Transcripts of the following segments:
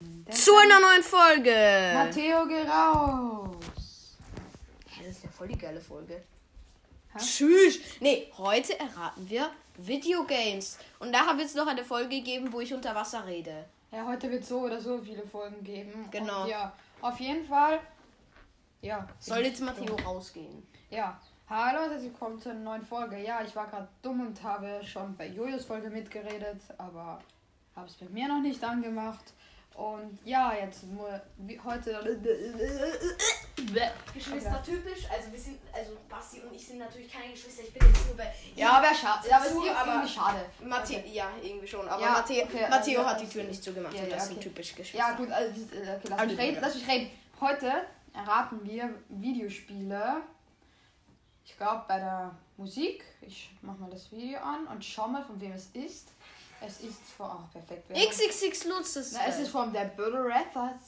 Denn Zu einer neuen Folge. Matteo, geh raus. Hä, das ist ja voll die geile Folge. Hä? Tschüss. Nee, heute erraten wir Videogames. Und nachher wird es noch eine Folge geben, wo ich unter Wasser rede. Ja, heute wird so oder so viele Folgen geben. Genau. Und ja, auf jeden Fall. Ja. Soll jetzt Matteo rausgehen? Ja. Hallo und herzlich willkommen zu einer neuen Folge. Ja, ich war gerade dumm und habe schon bei Jojos Folge mitgeredet, aber habe es bei mir noch nicht angemacht. Und ja, jetzt nur wie heute. Geschwister typisch, also wir sind, also Basti und ich sind natürlich keine Geschwister, ich bin jetzt nur bei. Ja, aber schade. Ja, aber es ist Zu, aber- irgendwie schade. Matteo, ja, irgendwie schon. Aber Ja, Matteo, okay, Matteo also- hat die Tür nicht zugemacht. Ja, und ja, das sind okay. typisch Geschwister. Ja, gut, also, äh, okay, lass, Also, mich reden, ja. lass mich reden. Heute erraten wir Videospiele. Ich glaube, bei der Musik. Ich mach mal das Video an und schau mal, von wem es ist. Es ist von. Ach, perfekt. wir- XXX Lutz ist. Na, es ist von der Böderether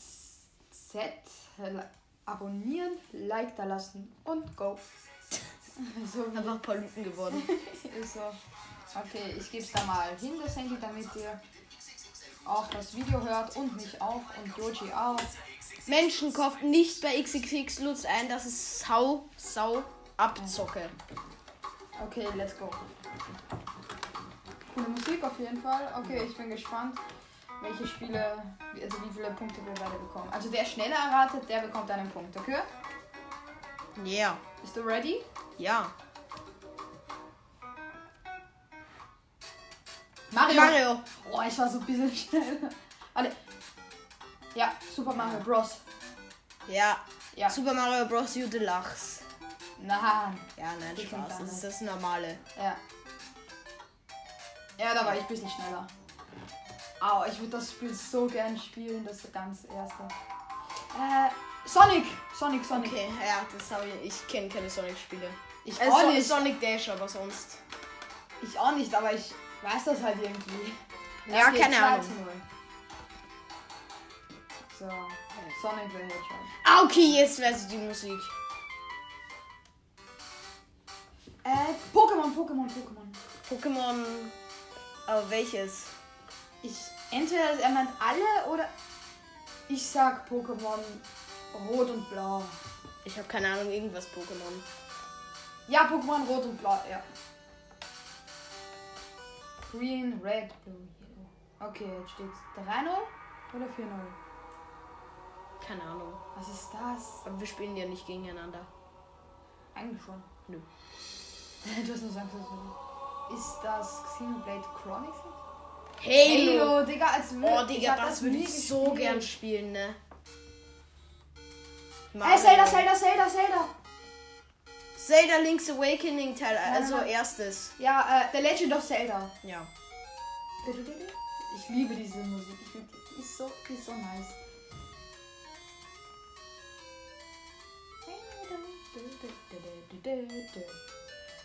Z. äh, Abonnieren, Like da lassen und go. so wie einfach Polypen geworden. ist so. Also, Okay, ich geb's da mal hin, das Handy, damit ihr auch das Video hört und mich auch und Joji auch. Menschen kauft nicht bei XXX Lutz ein. Das ist sau, sau abzocke. Okay, let's go. Coole Musik auf jeden Fall. Okay, ich bin gespannt, welche Spiele, also wie viele Punkte wir beide bekommen. Also wer schneller erratet, der bekommt einen Punkt, okay? Ja, yeah. Bist du ready? ja. Mario! Mario. Oh, ich war so ein bisschen schneller. Alle. Ja, Super Mario Bros. Ja. Ja. Super Mario Bros. You Deluxe. Nein. Ja, nein, Die Spaß. sind Das ist das Normale. Ja. Ja, da war ich ein bisschen schneller. Au, ich würde das Spiel so gern spielen, das ganz erste. Äh, Sonic! Sonic, Sonic. Okay, ja, das habe ich. Ich kenne keine Sonic-Spiele. Ich Äh, auch Son- nicht. Sonic Dash, aber sonst. Ich auch nicht, aber ich weiß das halt irgendwie. Ja, keine 2 Ahnung. zu 0. So, Sonic the Hedgehog. Ah, okay, jetzt weiß ich die Musik. Äh, Pokémon, Pokémon, Pokémon. Pokémon. Aber welches? Ich, entweder er meint alle oder ich sag Pokémon Rot und Blau. Ich habe keine Ahnung, irgendwas Pokémon. Ja, Pokémon Rot und Blau, ja. Green, Red, Blue, Yellow. Okay, jetzt steht's 3-0 oder 4-0. Keine Ahnung. Was ist das? Aber wir spielen ja nicht gegeneinander. Eigentlich schon. Nö. du hast nur gesagt, das ist- ist das Xenoblade Chronicles? Halo. Digga, als wür- Oh, ich Digga, hab das würde nie ich so gespielt. gern spielen, ne? Äh, Ey, Zelda, Zelda, Zelda, Zelda. Zelda Link's Awakening Teil, also nein, nein. erstes. Ja, äh, The Legend of Zelda. Ja. Ich liebe diese Musik. Ich liebe die. Die ist so, die ist so nice.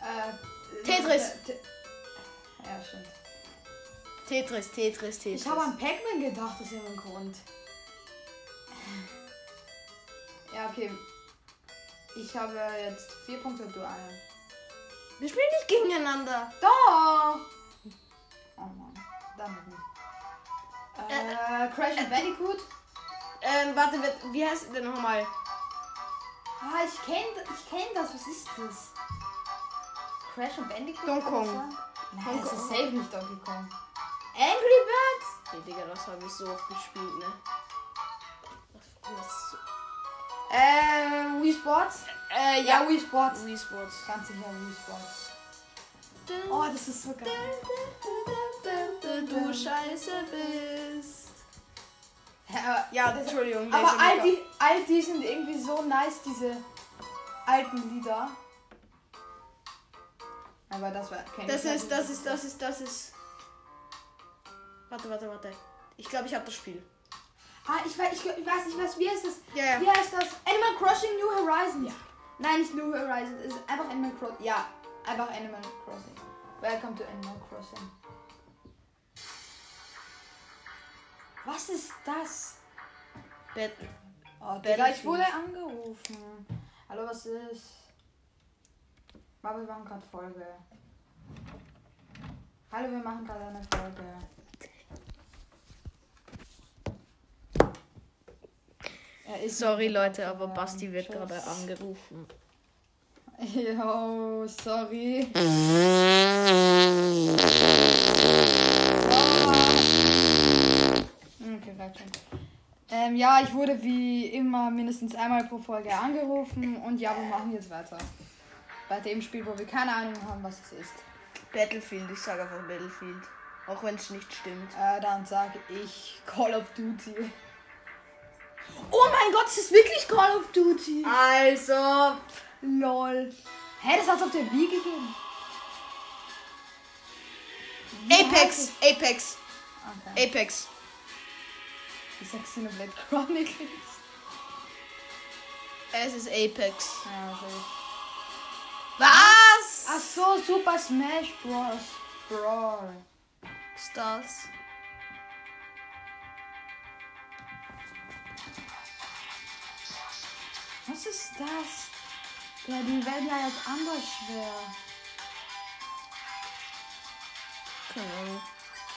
Äh, Tetris. Te- Ja, stimmt. Tetris, Tetris, Tetris. Ich habe an Pac-Man gedacht, aus irgendeinem Grund. Ja, okay. Ich habe jetzt vier Punkte, du einen. wir spielen nicht gegeneinander. Doch! Oh Mann, damit nicht. Äh, Crash and Bandicoot? Ähm, warte, wie- wie heißt denn nochmal? Ah, ich kenn, ich kenn das. Was ist das? Crash und Bandicoot? Donkey kann das Kong. sein? Nein, Donkey das ist Kong. safe nicht Donkey Kong. Angry Birds? Nee, Digga, das habe ich so oft gespielt, ne? Das, das, Äh, Wii Sports? äh, Ja, ja, Wii Sports. Wii Sports. Ganz sicher Wii Sports. Oh, das ist so geil. Du Scheiße bist. Ja, Ja, Entschuldigung. aber Laser all Maker. die, all die sind irgendwie so nice, diese alten Lieder. Aber das war kenn Das ich ist, ja. das ist, das ist, das ist. Warte, warte, warte. Ich glaube, ich habe das Spiel. Ah, ich weiß, ich, ich weiß, ich weiß, wie heißt das? Ja, ja. Wie heißt das? Animal Crossing New Horizons. Äh, Nein, nicht New Horizons. Es ist einfach Animal Crossing. Ja, einfach Animal Crossing. Welcome to Animal Crossing. Was ist das? Bad. Oh, Digga, ich Battlefield. wurde angerufen. Hallo, was ist? Aber wir machen gerade Folge. Hallo, wir machen gerade eine Folge. Er ist Sorry nicht mehr Leute, drauf, aber Basti wird tschüss. gerade angerufen. Jo, sorry. Okay, reicht schon. Ähm, ja, ich wurde wie immer mindestens einmal pro Folge angerufen und ja, wir machen jetzt weiter. Bei dem Spiel, wo wir keine Ahnung haben, was es ist. Battlefield, ich sage einfach Battlefield. Auch wenn es nicht stimmt. Äh, dann sage ich Call of Duty. Oh mein Gott, es ist wirklich Call of Duty. Also, LOL. Hä, das hat's auf der Wii gegeben? Apex, Apex, Okay. Apex. Ich sag Xenoblade Chronicles. Es ist Apex. Ja, okay. Was? Ach so, Super Smash Bros. Brawl. ist das? Was ist das? Ja, die werden ja jetzt anders schwer. Keine Ahnung.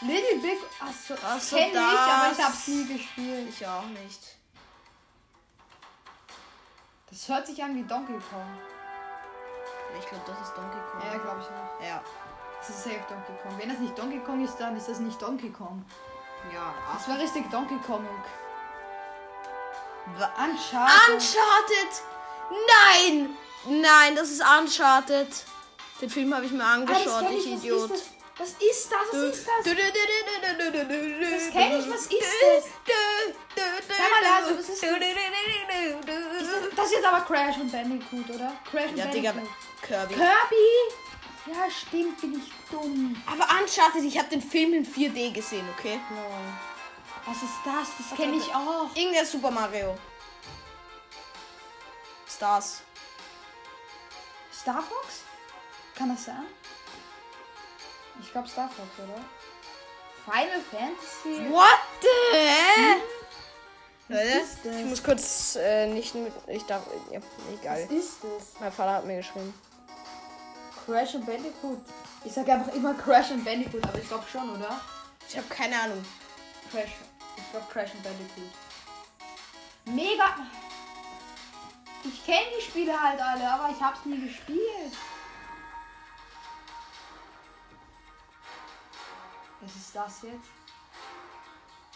Little Big. Achso, Ach das so, kenn ich, aber das. ich hab's nie gespielt. Ich auch nicht. Das hört sich an wie Donkey Kong. Ich glaube, das ist Donkey Kong. Ja, glaube ich auch. Ja. Das ist safe Donkey Kong. Wenn das nicht Donkey Kong ist, dann ist das nicht Donkey Kong. Ja. Das war richtig Donkey Kong. Wa- Uncharted. Uncharted! Nein! Nein, das ist Uncharted. Den Film habe ich mir Ah, das angeschaut, kenn ich was Idiot. Ist das? Was ist das? Was ist das? Das kenn ich, was ist das? Sag mal leise, was ist das? Das ist jetzt aber Crash und Bandicoot, oder? Crash und Ja, Digga, Bandicoot. Kirby. Kirby! Ja, stimmt, bin ich dumm. Aber Uncharted, ich habe den Film in 4D gesehen, okay? Lol. Was ist das? Das kenne ich auch. Irgendein Super Mario. Stars. Star Fox? Kann das sein? Ich glaube Star Fox, oder? Final Fantasy? What the hell? Leute, ist das? Hm? ich muss kurz äh, nicht mit. Ich darf. Ja, egal. Was ist das? Mein Vater hat mir geschrieben. Crash und Bandicoot. Ich sage einfach immer Crash und Bandicoot, aber ich glaube schon, oder? Ich habe keine Ahnung. Crash. Ich glaube Crash und Bandicoot. Mega. Ich kenne die Spiele halt alle, aber ich hab's nie gespielt. Was ist das jetzt?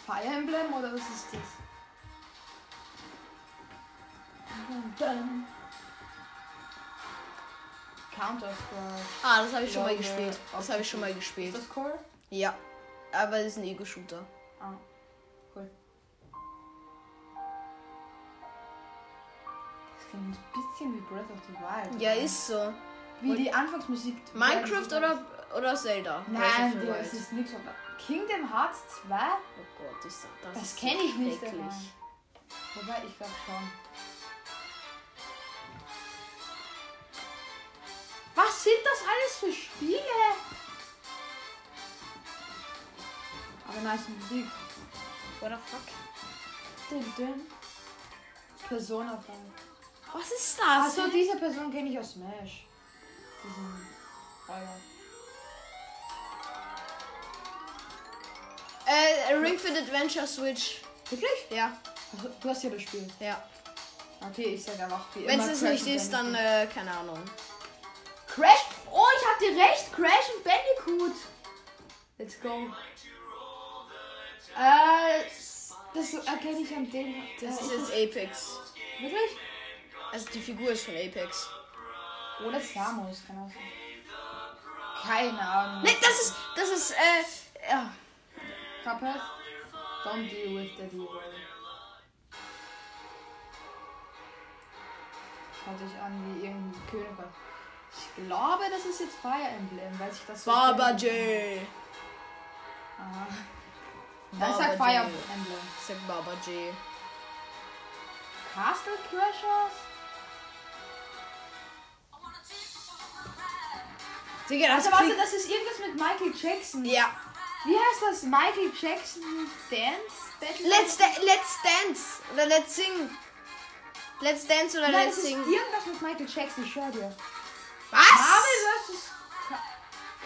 Fire Emblem oder was ist das? Counter Strike. Ah, das habe ich schon mal Leute, gespielt. Das auf habe ich schon mal Ist gespielt. das cool? Ja. Aber das ist ein Ego-Shooter. Ah, cool. Das klingt ein bisschen wie Breath of the Wild. Ja, oder? ist so. Wie die Anfangsmusik. Minecraft oder, oder Zelda? Breath Nein, of the Digga, Wild. es ist nichts. von- Kingdom Hearts 2? Oh Gott, ist das, Das ist kenn ich nicht, schrecklich. Digga. Wobei, ich glaube schon. Was sind das alles für Spiele? Aber nice Musik. What the fuck? Dün, dün. Persona 5. Was ist Ach das? so, diese Person kenne ich aus Smash. Diesen Alter. äh, Ring Fit Adventure Switch. Wirklich? Ja, Ach, Du hast ja das Spiel. ja. Okay, ich sag aber auch wie Wenn immer es das Crash nicht und ist, dann Bandicoot. äh, keine Ahnung. Crash! Oh, ich hatte recht! Crash und Bandicoot! Let's go. Äh, das erkenne ich an dem. Das äh, ist jetzt Apex. Wirklich? Also die Figur ist von Apex. Oder Samus, kann auch sein. Keine Ahnung. Nee, das ist, das ist, äh, ja. Cuphead? Don't deal with the devil. Hört sich an wie irgendein Königreich. Ich glaube, das ist jetzt Fire Emblem, weil sich das so. Baba J. Aha. Baba Das ist halt J. Fire Emblem. Ich sag Baba J. Castle Crashers? Digga, das Also warte, klingt- das ist irgendwas mit Michael Jackson. Ja. Wie heißt das? Michael Jackson Dance Battle? Let's, da let's Dance. Oder Let's Sing. Let's Dance oder Nein, Let's das ist Sing. irgendwas mit Michael Jackson, ich schwör dir. Was? Marvel vs. Ca-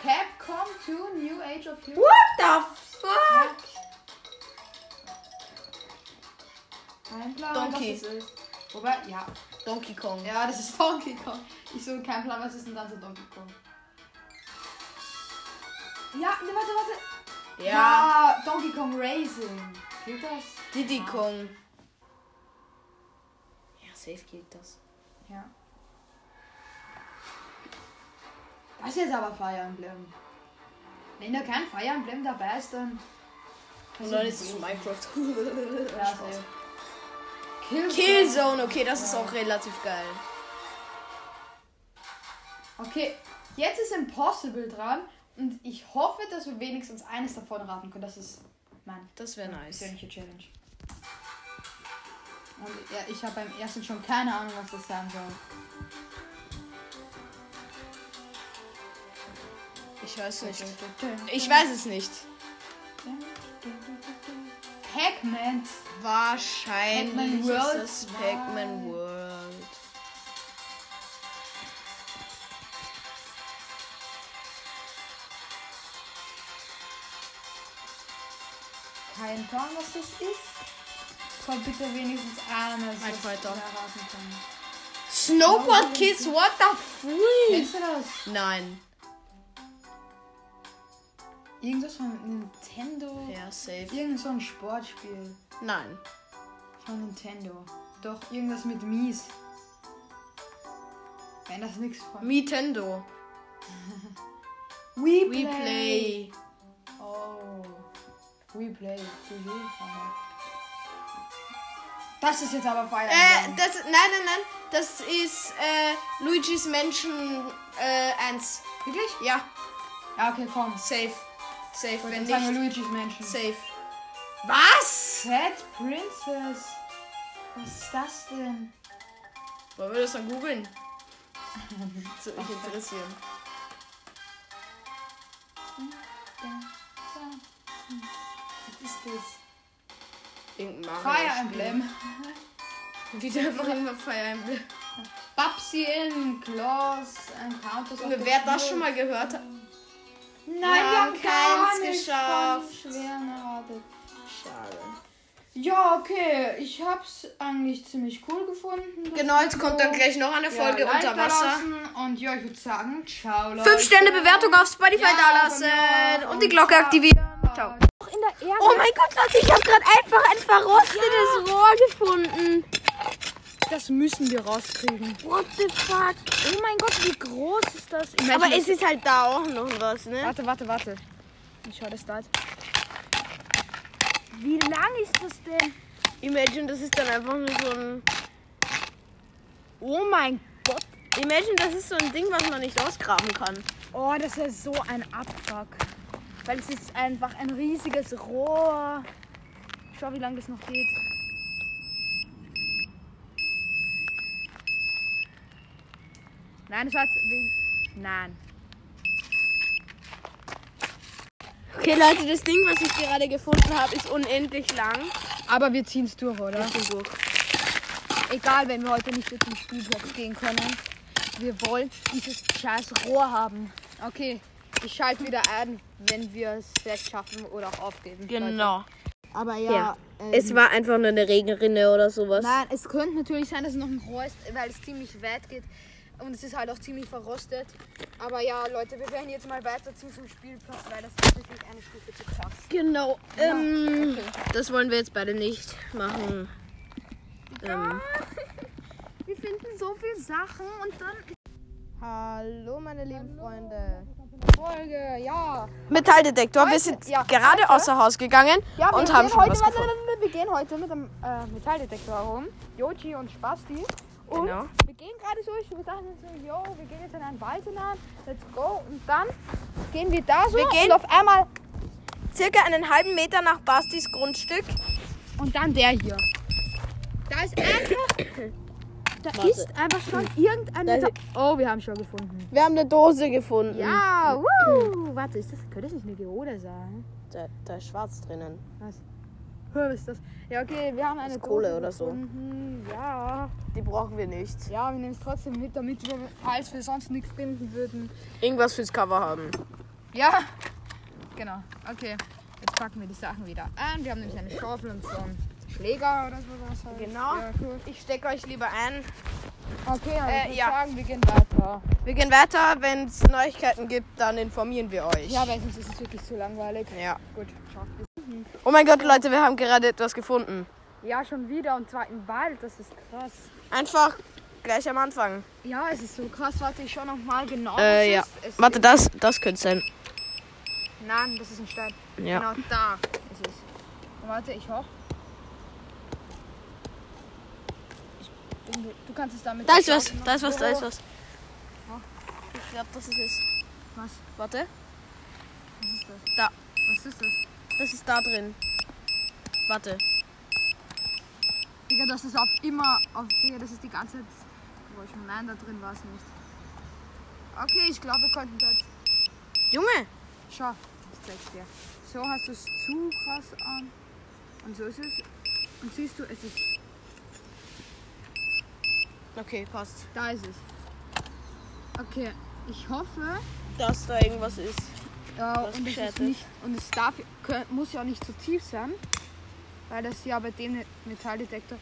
Capcom 2 New Age of Heroes. What the fuck? Kein Plan, Donkey. was das ist. Wobei, ja. Donkey Kong. Ja, das ist Donkey Kong. Ich so, kein Plan, was ist denn dann so Donkey Kong? Ja, ne, warte, warte. Ja. Donkey Kong Racing. Gilt das? Diddy Kong. Ja, safe gilt das. Ja. Das ist jetzt aber Fire Emblem. Wenn da kein Fire Emblem dabei ist, dann. Und dann ist es schon Minecraft. Ja, Spaß. safe. Killzone. Killzone, okay, das ist auch relativ geil. Okay, jetzt ist Impossible dran und ich hoffe, dass wir wenigstens eines davon raten können. Das ist mein Das wäre nice. persönliche Challenge. Und ja, ich habe beim ersten schon keine Ahnung, was das sein soll. Ich weiß nicht. Ich weiß es nicht. Pac-Man. Wahrscheinlich Pac-Man World ist das zwei. Pac-Man World. Kein Plan, was das ist. Komm bitte wenigstens eines. Mein was Freund doch. wir erraten können. Snowboard Kids, what the fuck? Kennst du das? Nein. Irgendwas von Nintendo? Ja, safe. Irgend so ein Sportspiel Nein. von Nintendo. Doch, irgendwas mit Mies. Wenn das nichts von. Nintendo. We We play. Oh. We play. GG. Das ist jetzt aber Feier. Äh, das, nein, nein, nein. Das ist äh, Luigi's Mansion äh, 1. Wirklich? Ja, Ja, okay, komm. safe. Safe, wenn Dann sagen wir nicht. Luigi's Menschen. Safe. Was? Sad Princess. Was ist das denn? Wollen wir das dann googeln? So, ich interessieren. Was Hm. ist das? Irgendein Mario. Fire Emblem. Wieder einfach immer Fire Emblem. Babsi in Klaus, Encounters. of Junge, the wer das Field. schon mal gehört hat. Wir Nein, wir haben haben gar keins nichts geschafft. von Schweren erratet. Schade. Ja, okay. Ich hab's eigentlich ziemlich cool gefunden. Genau, jetzt kommt dann gleich noch eine Ja, Folge Like unter Wasser. dalassen Und ja, ich würde sagen, ciao, Leute. 5 Sterne Bewertung auf Spotify Ja, genau. bei dalassen mir auch. und die Glocke Ciao. aktivieren. Ciao. Oh mein Gott, Leute, ich habe gerade einfach ein verrostetes Rohr gefunden. Das müssen wir rauskriegen. What the fuck? Oh mein Gott, wie groß ist das? Ich Aber es ist halt da auch noch was, ne? warte, warte, warte. Ich schau das da. an. Wie lang ist das denn? Imagine, das ist dann einfach nur so ein. Oh mein Gott. Imagine, das ist so ein Ding, was man nicht ausgraben kann. Oh, das ist so ein Abfuck. Weil es ist einfach ein riesiges Rohr. Schau, wie lange das noch geht. Nein, das war's. Nein. Okay, Leute, das Ding, was ich gerade gefunden habe, ist unendlich lang. Aber wir ziehen's durch, oder? So. Egal, wenn wir heute nicht mit dem Spielblock gehen können. Wir wollen dieses scheiß Rohr haben. Okay, ich schalte wieder ein, wenn wir es vielleicht schaffen oder auch aufgeben. Genau. Aber ja, Ja. ähm, Es war einfach nur eine Regenrinne oder sowas. nein, es könnte natürlich sein, dass es noch ein Rohr ist, weil es ziemlich weit geht. Und es ist halt auch ziemlich verrostet. Aber ja, Leute, wir werden jetzt mal weiterziehen zum Spielplatz, weil das ist wirklich eine Stufe zu krass. Genau. Ähm, Das wollen wir jetzt beide nicht machen. Ähm, Wir finden so viele Sachen und dann Hallo, meine lieben Freunde. Folge, ja. Metalldetektor, wir sind ja, gerade außer Haus gegangen Ja, wir und gehen haben schon heute, was warte, gefunden. warte, Wir gehen heute mit dem äh, Metalldetektor herum. Joji und Spasti. Und Genau. wir gehen gerade so, ich dachte so, yo, wir gehen jetzt in einen Wald hinein, let's go. Und dann gehen wir da so Wir gehen- und auf einmal, Circa einen halben Meter nach Bastis Grundstück. und dann der hier. Da ist einfach, da ist einfach schon irgendein Da ist- Mhm. Metall... Oh, wir haben schon gefunden. Wir haben eine Dose gefunden. Ja, wuhu. Warte, ist das, könnte das nicht eine Geode sein? Da, da ist schwarz drinnen. Hör, was ist das? Ja, okay, wir haben eine ist Kohle Dose oder so. gefunden. Ja. Die brauchen wir nicht. Ja, wir nehmen es trotzdem mit, damit wir, falls wir sonst nichts finden würden. Irgendwas fürs Cover haben. Ja, genau. Okay, jetzt packen wir die Sachen wieder ein. Wir haben nämlich eine Schaufel und so. ein Schläger oder sowas halt. Genau. Ja, cool. Ich stecke euch lieber ein. Okay, also dann Äh, würde ich ja. sagen, wir gehen weiter. Wir gehen weiter. Wenn es Neuigkeiten gibt, dann informieren wir euch. Ja, weil sonst ist es wirklich zu langweilig. Ja. Gut, schafft es. Oh mein Gott, Leute, wir haben gerade etwas gefunden. Ja, schon wieder und zwar im Wald, das ist krass. Einfach gleich am Anfang. Ja, es ist so krass. Warte, ich schau nochmal genau. was Äh, ja. es ist. Es Warte, das, das könnte sein. Ist, nein, das ist ein Stein. Ja. Genau da ist es. Warte, ich hoch. Ich bin, du kannst es damit. Da ist was, verstauchen noch. da ist was, da ist Oh, was. Ich glaube, das ist es. Was? Warte, Was ist das? Da. Was ist das? das ist da drin. Warte. Digga, das ist auf immer auf. Digga, das ist die ganze Zeit. Wo ich nein, da drin war es nicht. Okay, ich glaube, wir konnten dort. Junge, Schau, ich zeig's dir. So hast du es zu krass an. Und so ist es. Und siehst du, es ist. Okay, passt. Da ist es. Okay, ich hoffe. Dass da irgendwas ist. Ja, Das und es geschert ist ist. nicht und es darf kö- muss ja auch nicht zu tief sein, weil das ja bei dem Metalldetektor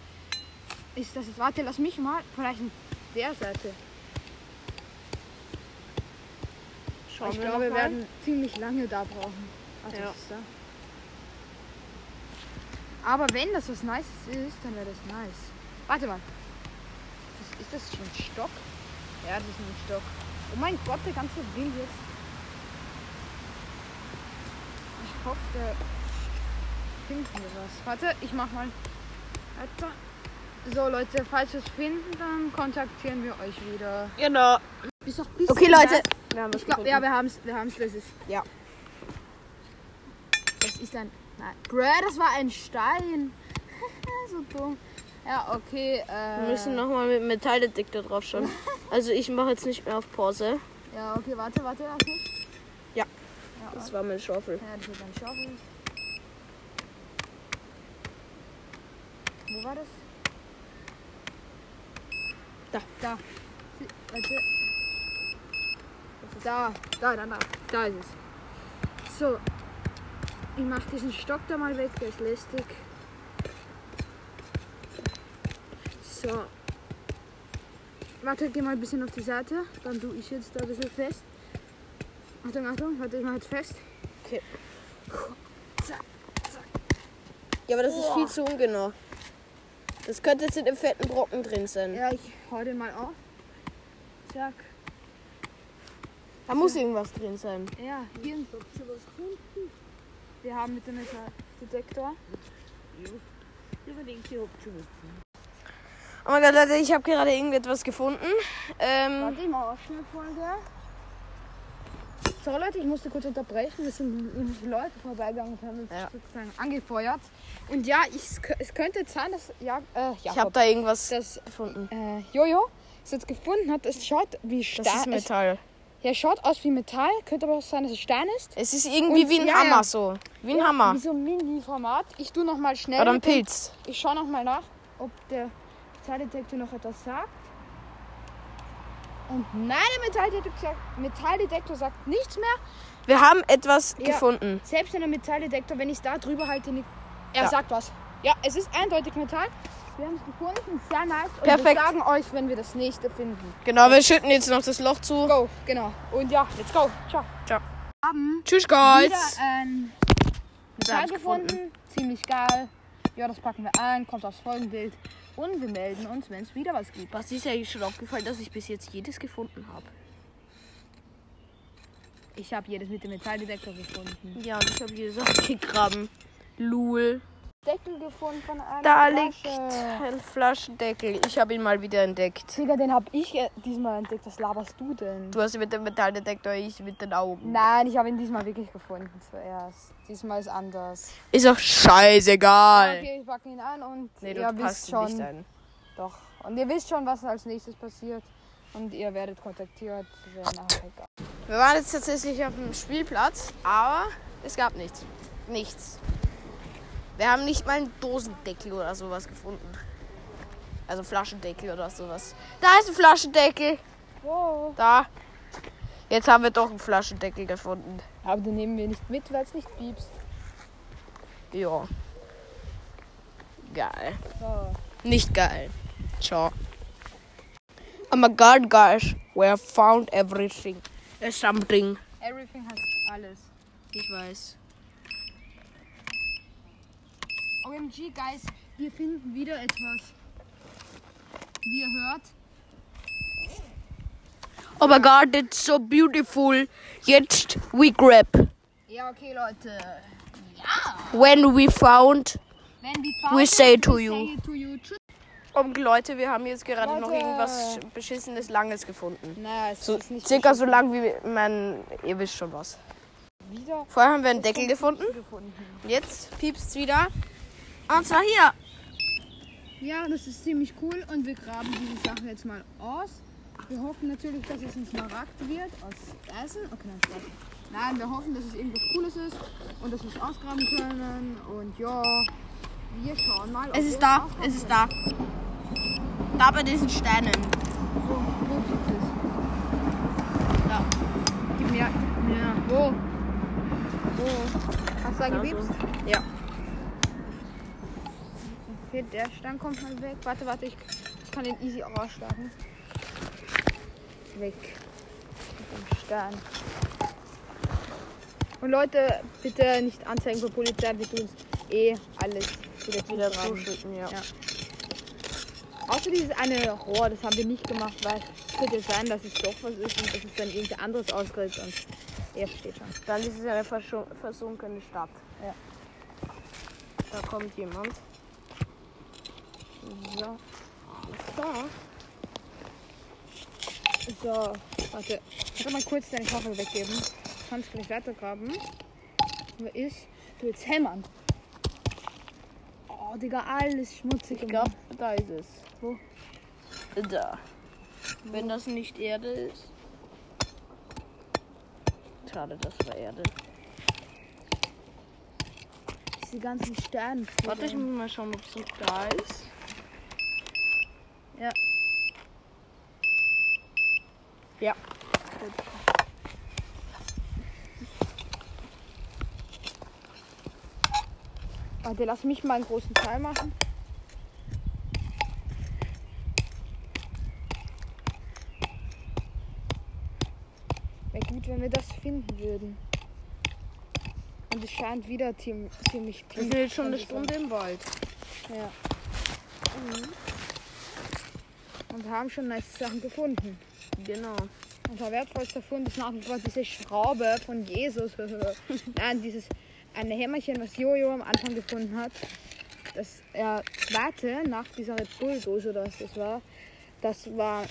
ist das jetzt. Warte, lass mich mal vielleicht an der Seite. Schauen ich wir glaube, wir noch mal. werden ziemlich lange da brauchen. Warte, Ja. das ist da. Aber wenn das was Nices ist, dann wäre das nice. Warte mal. Das, ist das schon ein Stock? Ja, das ist ein Stock. Oh mein Gott, der ganze Wind jetzt. Ich hoffe, der finden wir was. Warte, ich mach mal weiter. So Leute, falls wir es finden, dann kontaktieren wir euch wieder. Genau. Ist doch ein bisschen Okay, Leute. nass. Wir haben Ich glaub, ja, wir haben es, wir haben's, das ist. Ja. Das ist ein. Nein. Bruh, das war ein Stein. so dumm. Ja, okay. Äh, Wir müssen nochmal mit dem Metalldetektor draufschauen. Also ich mache jetzt nicht mehr auf Pause. Ja, okay, warte, warte, okay. Das war mein Schaufel. Ja, das ist ein Schaufel. Wo war das? Da. Da. Sie- Warte. Da, da, da, da. Da ist es. So. Ich mach diesen Stock da mal weg, der ist lästig. So. Warte, geh mal ein bisschen auf die Seite. Dann tue ich jetzt da ein bisschen fest. Achtung, Achtung, warte, ich mach jetzt fest. Ja, aber das ist viel zu ungenau. Das könnte jetzt in dem fetten Brocken drin sein. Ja, ich hau den mal auf. Zack. Da muss irgendwas drin sein. Ja, hier. Wir haben mit dem Metalldetektor. Oh mein Gott, Leute, ich habe gerade irgendetwas gefunden. Ähm, Warte, ich mal Ausschnittfolge. So Leute, ich musste kurz unterbrechen. Es sind nämlich Leute vorbeigegangen und haben uns Ja. sozusagen angefeuert. Und ja, ich, es könnte jetzt sein, dass ja, äh, ich habe Jakob, da irgendwas dass gefunden. äh, Jojo es jetzt gefunden hat. Es schaut wie Das Stein. ist Metall. es, ja, schaut aus wie Metall. Könnte aber auch sein, dass es Stein ist. Es ist irgendwie Und- wie ein ja, Hammer ja. so. Wie ein Hammer. Wie so ein Mini-Format. Ich tu noch mal schnell. Oder ein mit dem- Pilz. Ich schaue nochmal nach, ob der Metalldetektor noch etwas sagt. Und nein, der Metalldetektor, sagt- Metalldetektor sagt nichts mehr. Wir haben etwas Ja. gefunden. Selbst wenn der Metalldetektor, wenn ich da drüber halte, nicht, er Ja. sagt was. Ja, es ist eindeutig Metall. Wir haben es gefunden, sehr nice. Und Perfekt. wir sagen euch, wenn wir das nächste finden. Genau, wir schütten jetzt noch das Loch zu. Go, genau. Und ja, let's go. Ciao. Ciao. Haben Tschüss, wieder Guys. ein Metall Hab's gefunden. gefunden. Ziemlich geil. Ja, das packen wir ein, kommt aufs Folgenbild. Und wir melden uns, wenn es wieder was gibt. Was ist eigentlich schon aufgefallen, dass ich bis jetzt jedes gefunden habe? Ich habe jedes mit dem Metalldetektor gefunden. Ja, und ich habe jedes ausgegraben. Lul. Deckel gefunden von einer Da liegt Flasche. ein Flaschendeckel. Ich habe ihn mal wieder entdeckt. Digga, den habe ich äh, diesmal entdeckt. Was laberst du denn? Du hast ihn mit dem Metalldetektor, ich mit den Augen. Nein, ich habe ihn diesmal wirklich gefunden zuerst. Diesmal ist anders. Ist doch scheißegal. Okay, ich packe ihn ein und Nee, du ihr wisst passt schon. nicht ein. Doch. Und ihr wisst schon, was als nächstes passiert. Und ihr werdet kontaktiert. Wäre nachher egal. Wir waren jetzt tatsächlich auf dem Spielplatz, aber es gab nichts. Nichts. Wir haben nicht mal einen Dosendeckel oder sowas gefunden. Also Flaschendeckel oder sowas. Da ist ein Flaschendeckel. Wow. Da. Jetzt haben wir doch einen Flaschendeckel gefunden. Aber den nehmen wir nicht mit, weil es nicht piepst. Ja. Geil. Nicht geil. Ciao. Oh my god, guys. We have found everything. Äh, Something. Everything hat alles. Ich weiß. OMG, Guys, wir finden wieder etwas. Wie ihr hört, Oh my god, it's so beautiful. Jetzt we grab. Ja, okay, Leute. When we found. Wenn die Farbe We say to you. Say to you. Tschüss. Um, Leute, wir haben jetzt gerade noch irgendwas beschissenes Langes gefunden. Naja, es So, ist nicht circa so lang wie man. Ihr wisst schon was. wieder Vorher haben wir einen Deckel gefunden. gefunden. Und Jetzt piepst wieder. Und Ah, zwar hier. Ja, das ist ziemlich cool und wir graben diese Sache jetzt mal aus. Wir hoffen natürlich, dass es ein Smaragd wird aus Essen. Okay, nein, Spaß. Nein, wir hoffen, dass es irgendwas Cooles ist und dass wir es ausgraben können. Und ja, wir schauen mal. ob Es wir ist da, ausgraben es ist da. Da bei diesen Steinen. Wo gibt es? Da. Gib mir. Ja. Wo? Wo? Hast du da gebiebst? Ja. Okay, der Stein kommt mal weg. Warte, warte, ich ich kann den easy rausschlagen. Weg. Mit dem Stein. Und Leute, bitte nicht anzeigen bei Polizei, wir tun eh alles wieder Wieder zuschütten. reinschütten, ja. Ja. Außer dieses eine Rohr, das haben wir nicht gemacht, weil es könnte sein, dass es doch was ist und dass es dann irgendein anderes ausgerissen und er steht schon. Dann ist es eine versu- versunkene Stadt. Ja. Da kommt jemand. Ja. So, warte. Ich kann mal kurz deinen Koffer weggeben. Du kannst gleich weitergraben. Nur ist, du willst hämmern. Oh, Digga, alles schmutzig. Ich glaube, da ist es. Wo? Da. Wenn das nicht Erde ist. Schade, das war Erde. Diese ganzen Sterne. Warte, ich muss mal schauen, ob es noch da ist. Ja. Ja. Warte, lass mich mal einen großen Teil machen. Wäre gut, wenn wir das finden würden. Und es scheint wieder ziem- ziemlich Wir tief. sind jetzt schon zu eine sein. Stunde im Wald. Ja. Und wir haben schon nice Sachen gefunden. Genau. Unser wertvollster Fund ist nach wie vor diese Schraube von Jesus. Nein, dieses eine Hämmerchen, was Jojo am Anfang gefunden hat. Das äh, zweite nach dieser Red Bull-Dose, oder was das war, das war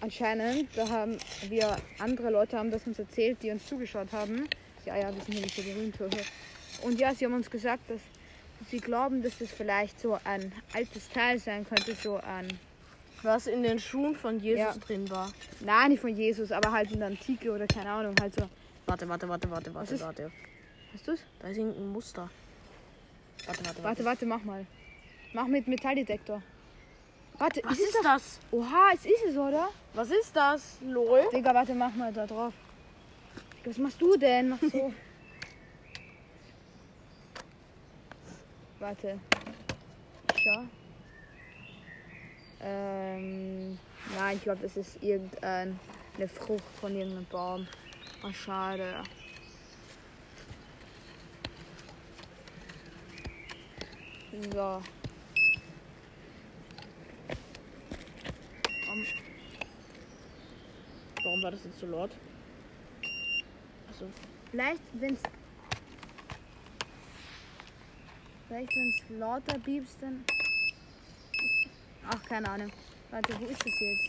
anscheinend, da haben wir, andere Leute haben das uns erzählt, die uns zugeschaut haben. Ja, ja, wir sind hier nicht so berühmt. Und ja, sie haben uns gesagt, dass sie glauben, dass das vielleicht so ein altes Teil sein könnte, so ein Was in den Schuhen von Jesus Ja. drin war. Nein, nicht von Jesus, aber halt in der Antike oder keine Ahnung, halt so. Warte, warte, warte, warte, warte, ist- warte. Hast du's? Da ist irgendein Muster. Warte, warte, Warte, warte, mach mal. Mach mit Metalldetektor. Warte, Was ist es ist doch- das? Oha, es ist es, oder? Was ist das? Lol. Digga, warte, mach mal da drauf. Was machst du denn? Mach so. warte. Schau. Ähm, nein, ich glaube, das ist irgendeine Frucht von irgendeinem Baum. Oh, schade. So. Warum war das jetzt so laut? Also, Vielleicht, wenn's. Vielleicht, wenn's lauter piepst, dann. Ach, keine Ahnung. Warte, wo ist das jetzt?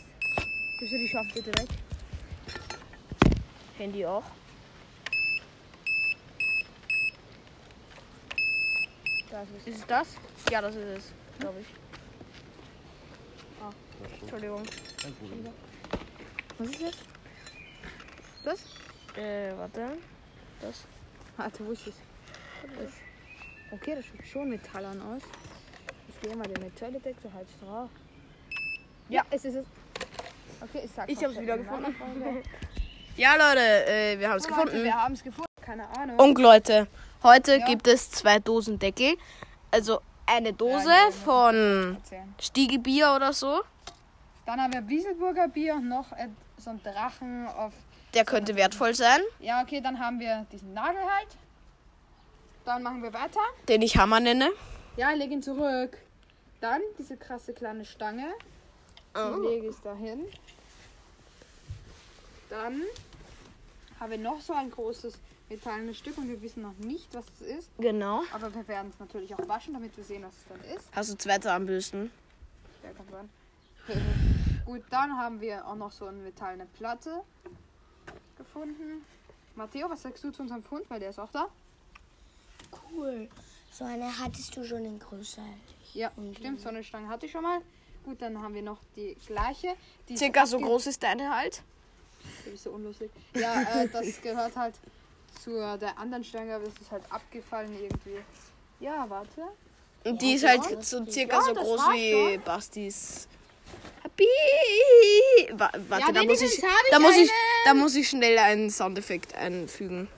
Gibst du die Schaufel bitte weg? Handy auch. Da ist es. Ist es das? Ja, das ist es, glaube ich. Ah, Entschuldigung. Was ist das? Äh, warte. Das. Warte, wo ist es? Das. Okay, das sieht schon Metall an aus. Ich gehe mal den Metalldetektor halt drauf. Ja. es ist es. Okay, ich sag's Ich noch hab's schnell wieder in einer gefunden. Folge. Ja, Leute, äh, wir haben es Leute, gefunden. ne? Wir haben's gefunden. Keine Ahnung. Und Leute, heute Ja. gibt es zwei Dosen Deckel. Also eine Dose von Erzählen. Stiegelbier oder so. Dann haben wir Wieselburger Bier und noch äh, so einen Drachen auf. Der könnte wertvoll sein. Ja, okay, dann haben wir diesen Nagel halt. Dann machen wir weiter. Den ich Hammer nenne. Ja, leg ihn zurück. Dann diese krasse kleine Stange. Oh. Die lege ich dahin. Dann haben wir noch so ein großes metallenes Stück und wir wissen noch nicht, was es ist. Genau. Aber wir werden es natürlich auch waschen, damit wir sehen, was es dann ist. Hast du Wetter am Büsten? Ja, kann sein. Gut, dann haben wir auch noch so eine metallene Platte gefunden. Matteo, was sagst du zu unserem Fund? Weil der ist auch da. Cool. So eine hattest du schon in größer. Ja, stimmt, so eine Stange hatte ich schon mal. Gut, dann haben wir noch die gleiche. Die ist Circa so abge- groß ist deine halt. Das ist so unlustig. Ja, äh, das gehört halt zu der anderen Stange, aber das ist halt abgefallen irgendwie. Ja, warte. Und die ist genau. halt so circa Ja, so das groß war's wie Bastis. Happy! Wa- Warte, da, muss ich, wenigstens hab ich da muss ich, einen. da muss ich schnell einen Soundeffekt einfügen.